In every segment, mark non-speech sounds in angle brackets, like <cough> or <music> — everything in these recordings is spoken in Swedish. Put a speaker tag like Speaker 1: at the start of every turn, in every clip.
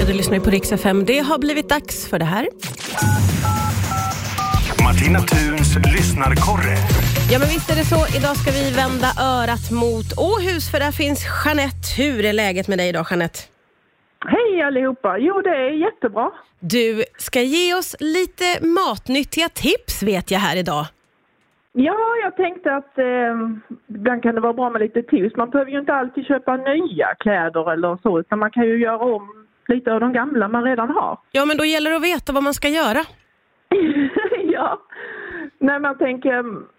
Speaker 1: och du lyssnar på Rix FM. Det har blivit dags för det här.
Speaker 2: Martina Thuns lyssnarkorre.
Speaker 1: Ja, men visst är det så. Idag ska vi vända örat mot Åhus, för där finns Jeanette. Hur är läget med dig idag, Jeanette?
Speaker 3: Hej allihopa! Jo, det är jättebra.
Speaker 1: Du ska ge oss lite matnyttiga tips, vet jag här idag.
Speaker 3: Ja, jag tänkte att eh, ibland kan det vara bra med lite tips. Man behöver ju inte alltid köpa nya kläder eller så, utan man kan ju göra om lite av de gamla man redan har. <laughs>
Speaker 1: Ja, men då gäller det att veta vad man ska göra.
Speaker 3: ja. Nej, man tänker,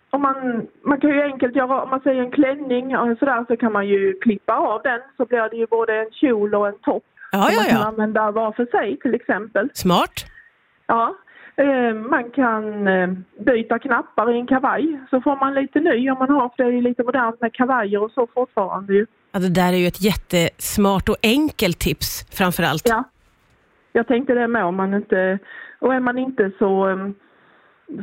Speaker 3: om man, man kan ju enkelt göra, om man säger en klänning och sådär, så kan man ju klippa av den så blir det ju både en kjol och en topp.
Speaker 1: Ja,
Speaker 3: som
Speaker 1: ja,
Speaker 3: man kan
Speaker 1: ja.
Speaker 3: använda var för sig till exempel.
Speaker 1: Smart.
Speaker 3: Ja, eh, man kan eh, byta knappar i en kavaj så får man lite ny om man har, för det är ju lite modernt med kavajer och så fortfarande ju.
Speaker 1: Ja, det där är ju ett jättesmart och enkelt tips framför allt.
Speaker 3: Ja. Jag tänkte det med om man inte, och är man inte så eh,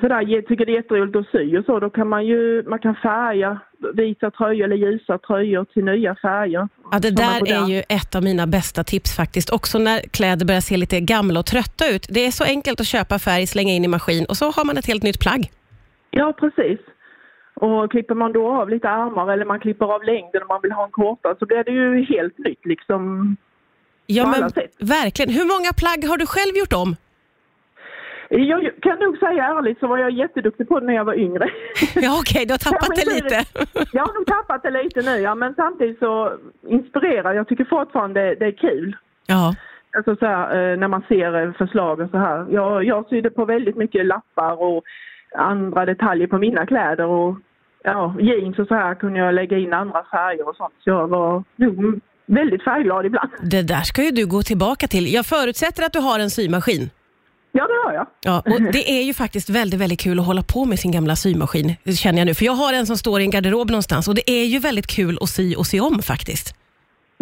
Speaker 3: sådär, ge- tycker det är jätteroligt att sy och så, då kan man ju, man kan färga vita tröjor eller ljusa tröjor till nya färger.
Speaker 1: Ja, det
Speaker 3: Som man
Speaker 1: där
Speaker 3: går
Speaker 1: är ju ett av mina bästa tips faktiskt. Också när kläder börjar se lite gamla och trötta ut. Det är så enkelt att köpa färg, slänga in i maskin och så har man ett helt nytt plagg.
Speaker 3: Ja, precis. Och klipper man då av lite armar eller man klipper av längden om man vill ha en kortare så blir det ju helt nytt liksom.
Speaker 1: Ja,
Speaker 3: På
Speaker 1: men
Speaker 3: alla sätt.
Speaker 1: verkligen. Hur många plagg har du själv gjort om? <laughs>
Speaker 3: Jag kan nog säga ärligt så var jag jätteduktig på det när jag var
Speaker 1: <laughs>
Speaker 3: yngre.
Speaker 1: Ja, okej, du har
Speaker 3: Ja,
Speaker 1: tappat
Speaker 3: men
Speaker 1: det
Speaker 3: det är
Speaker 1: lite. <laughs>
Speaker 3: Jag har nog tappat det lite nu ja, men samtidigt så inspirerar jag tycker fortfarande det är kul.
Speaker 1: Ja,
Speaker 3: Alltså så här, eh, när man ser eh, förslagen så här. Jag, jag sydde på väldigt mycket lappar och andra detaljer på mina kläder och ja, jeans och så här kunde jag lägga in andra färger och sånt. Så jag var nog väldigt färgglad ibland.
Speaker 1: det där ska ju du gå tillbaka till. Jag förutsätter att du har en symaskin.
Speaker 3: Ja, det har jag.
Speaker 1: Ja,
Speaker 3: <laughs>
Speaker 1: och det är ju faktiskt väldigt, väldigt kul att hålla på med sin gamla symaskin, det känner jag nu. För jag har en som står i en garderob någonstans och det är ju väldigt kul att sy och sy om faktiskt.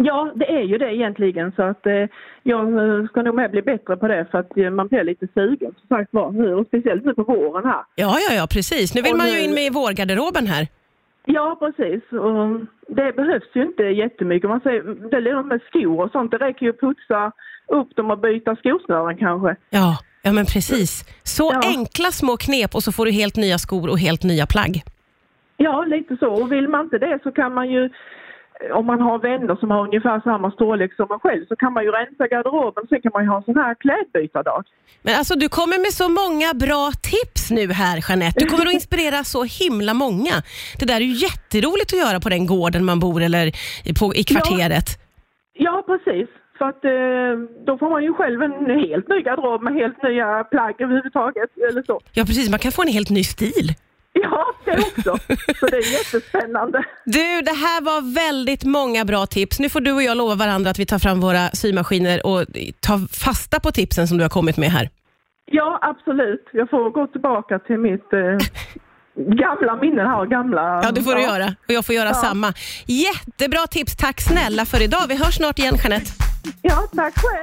Speaker 3: Ja, det är ju det egentligen så att eh, jag eh, ska nog med bli bättre på det för att eh, man blir lite sugen som sagt var nu och speciellt nu på våren här.
Speaker 1: Ja, ja, ja, precis. Nu vill
Speaker 3: Och
Speaker 1: man ju
Speaker 3: nu-
Speaker 1: in med i vårgarderoben här.
Speaker 3: Ja, precis. Och det behövs ju inte jättemycket. Man säger, det lirar med skor och sånt. Det räcker ju att putsa upp dem och byta skosnören kanske.
Speaker 1: Ja, ja men precis. Så
Speaker 3: Ja.
Speaker 1: enkla små knep och så får du helt nya skor och helt nya plagg.
Speaker 3: Ja, lite så. Och vill man inte det så kan man ju eh, om man har vänner som har ungefär samma storlek som man själv så kan man ju rensa garderoben. Sen kan man ju ha en sån här klädbytardag.
Speaker 1: Men alltså du kommer med så många bra tips nu här Jeanette. Du kommer att inspirera så himla många. Det där är ju jätteroligt att göra på den gården man bor eller i- på, i kvarteret.
Speaker 3: Ja, precis. För att eh, då får man ju själv en helt ny garderob med helt nya plagg överhuvudtaget. Eller så.
Speaker 1: Ja precis, man kan få en helt ny stil.
Speaker 3: Ja, det också. Så det är jättespännande.
Speaker 1: Du, det här var väldigt många bra tips. Nu får du och jag lova varandra att vi tar fram våra symaskiner och tar fasta på tipsen som du har kommit med här.
Speaker 3: Ja, absolut. Jag får gå tillbaka till mitt eh, gamla minnen här. Gamla,
Speaker 1: Ja, det får du göra. Och jag får göra samma. Jättebra tips. Tack snälla för idag. Vi hörs snart igen, Jeanette.
Speaker 3: Ja, tack själv.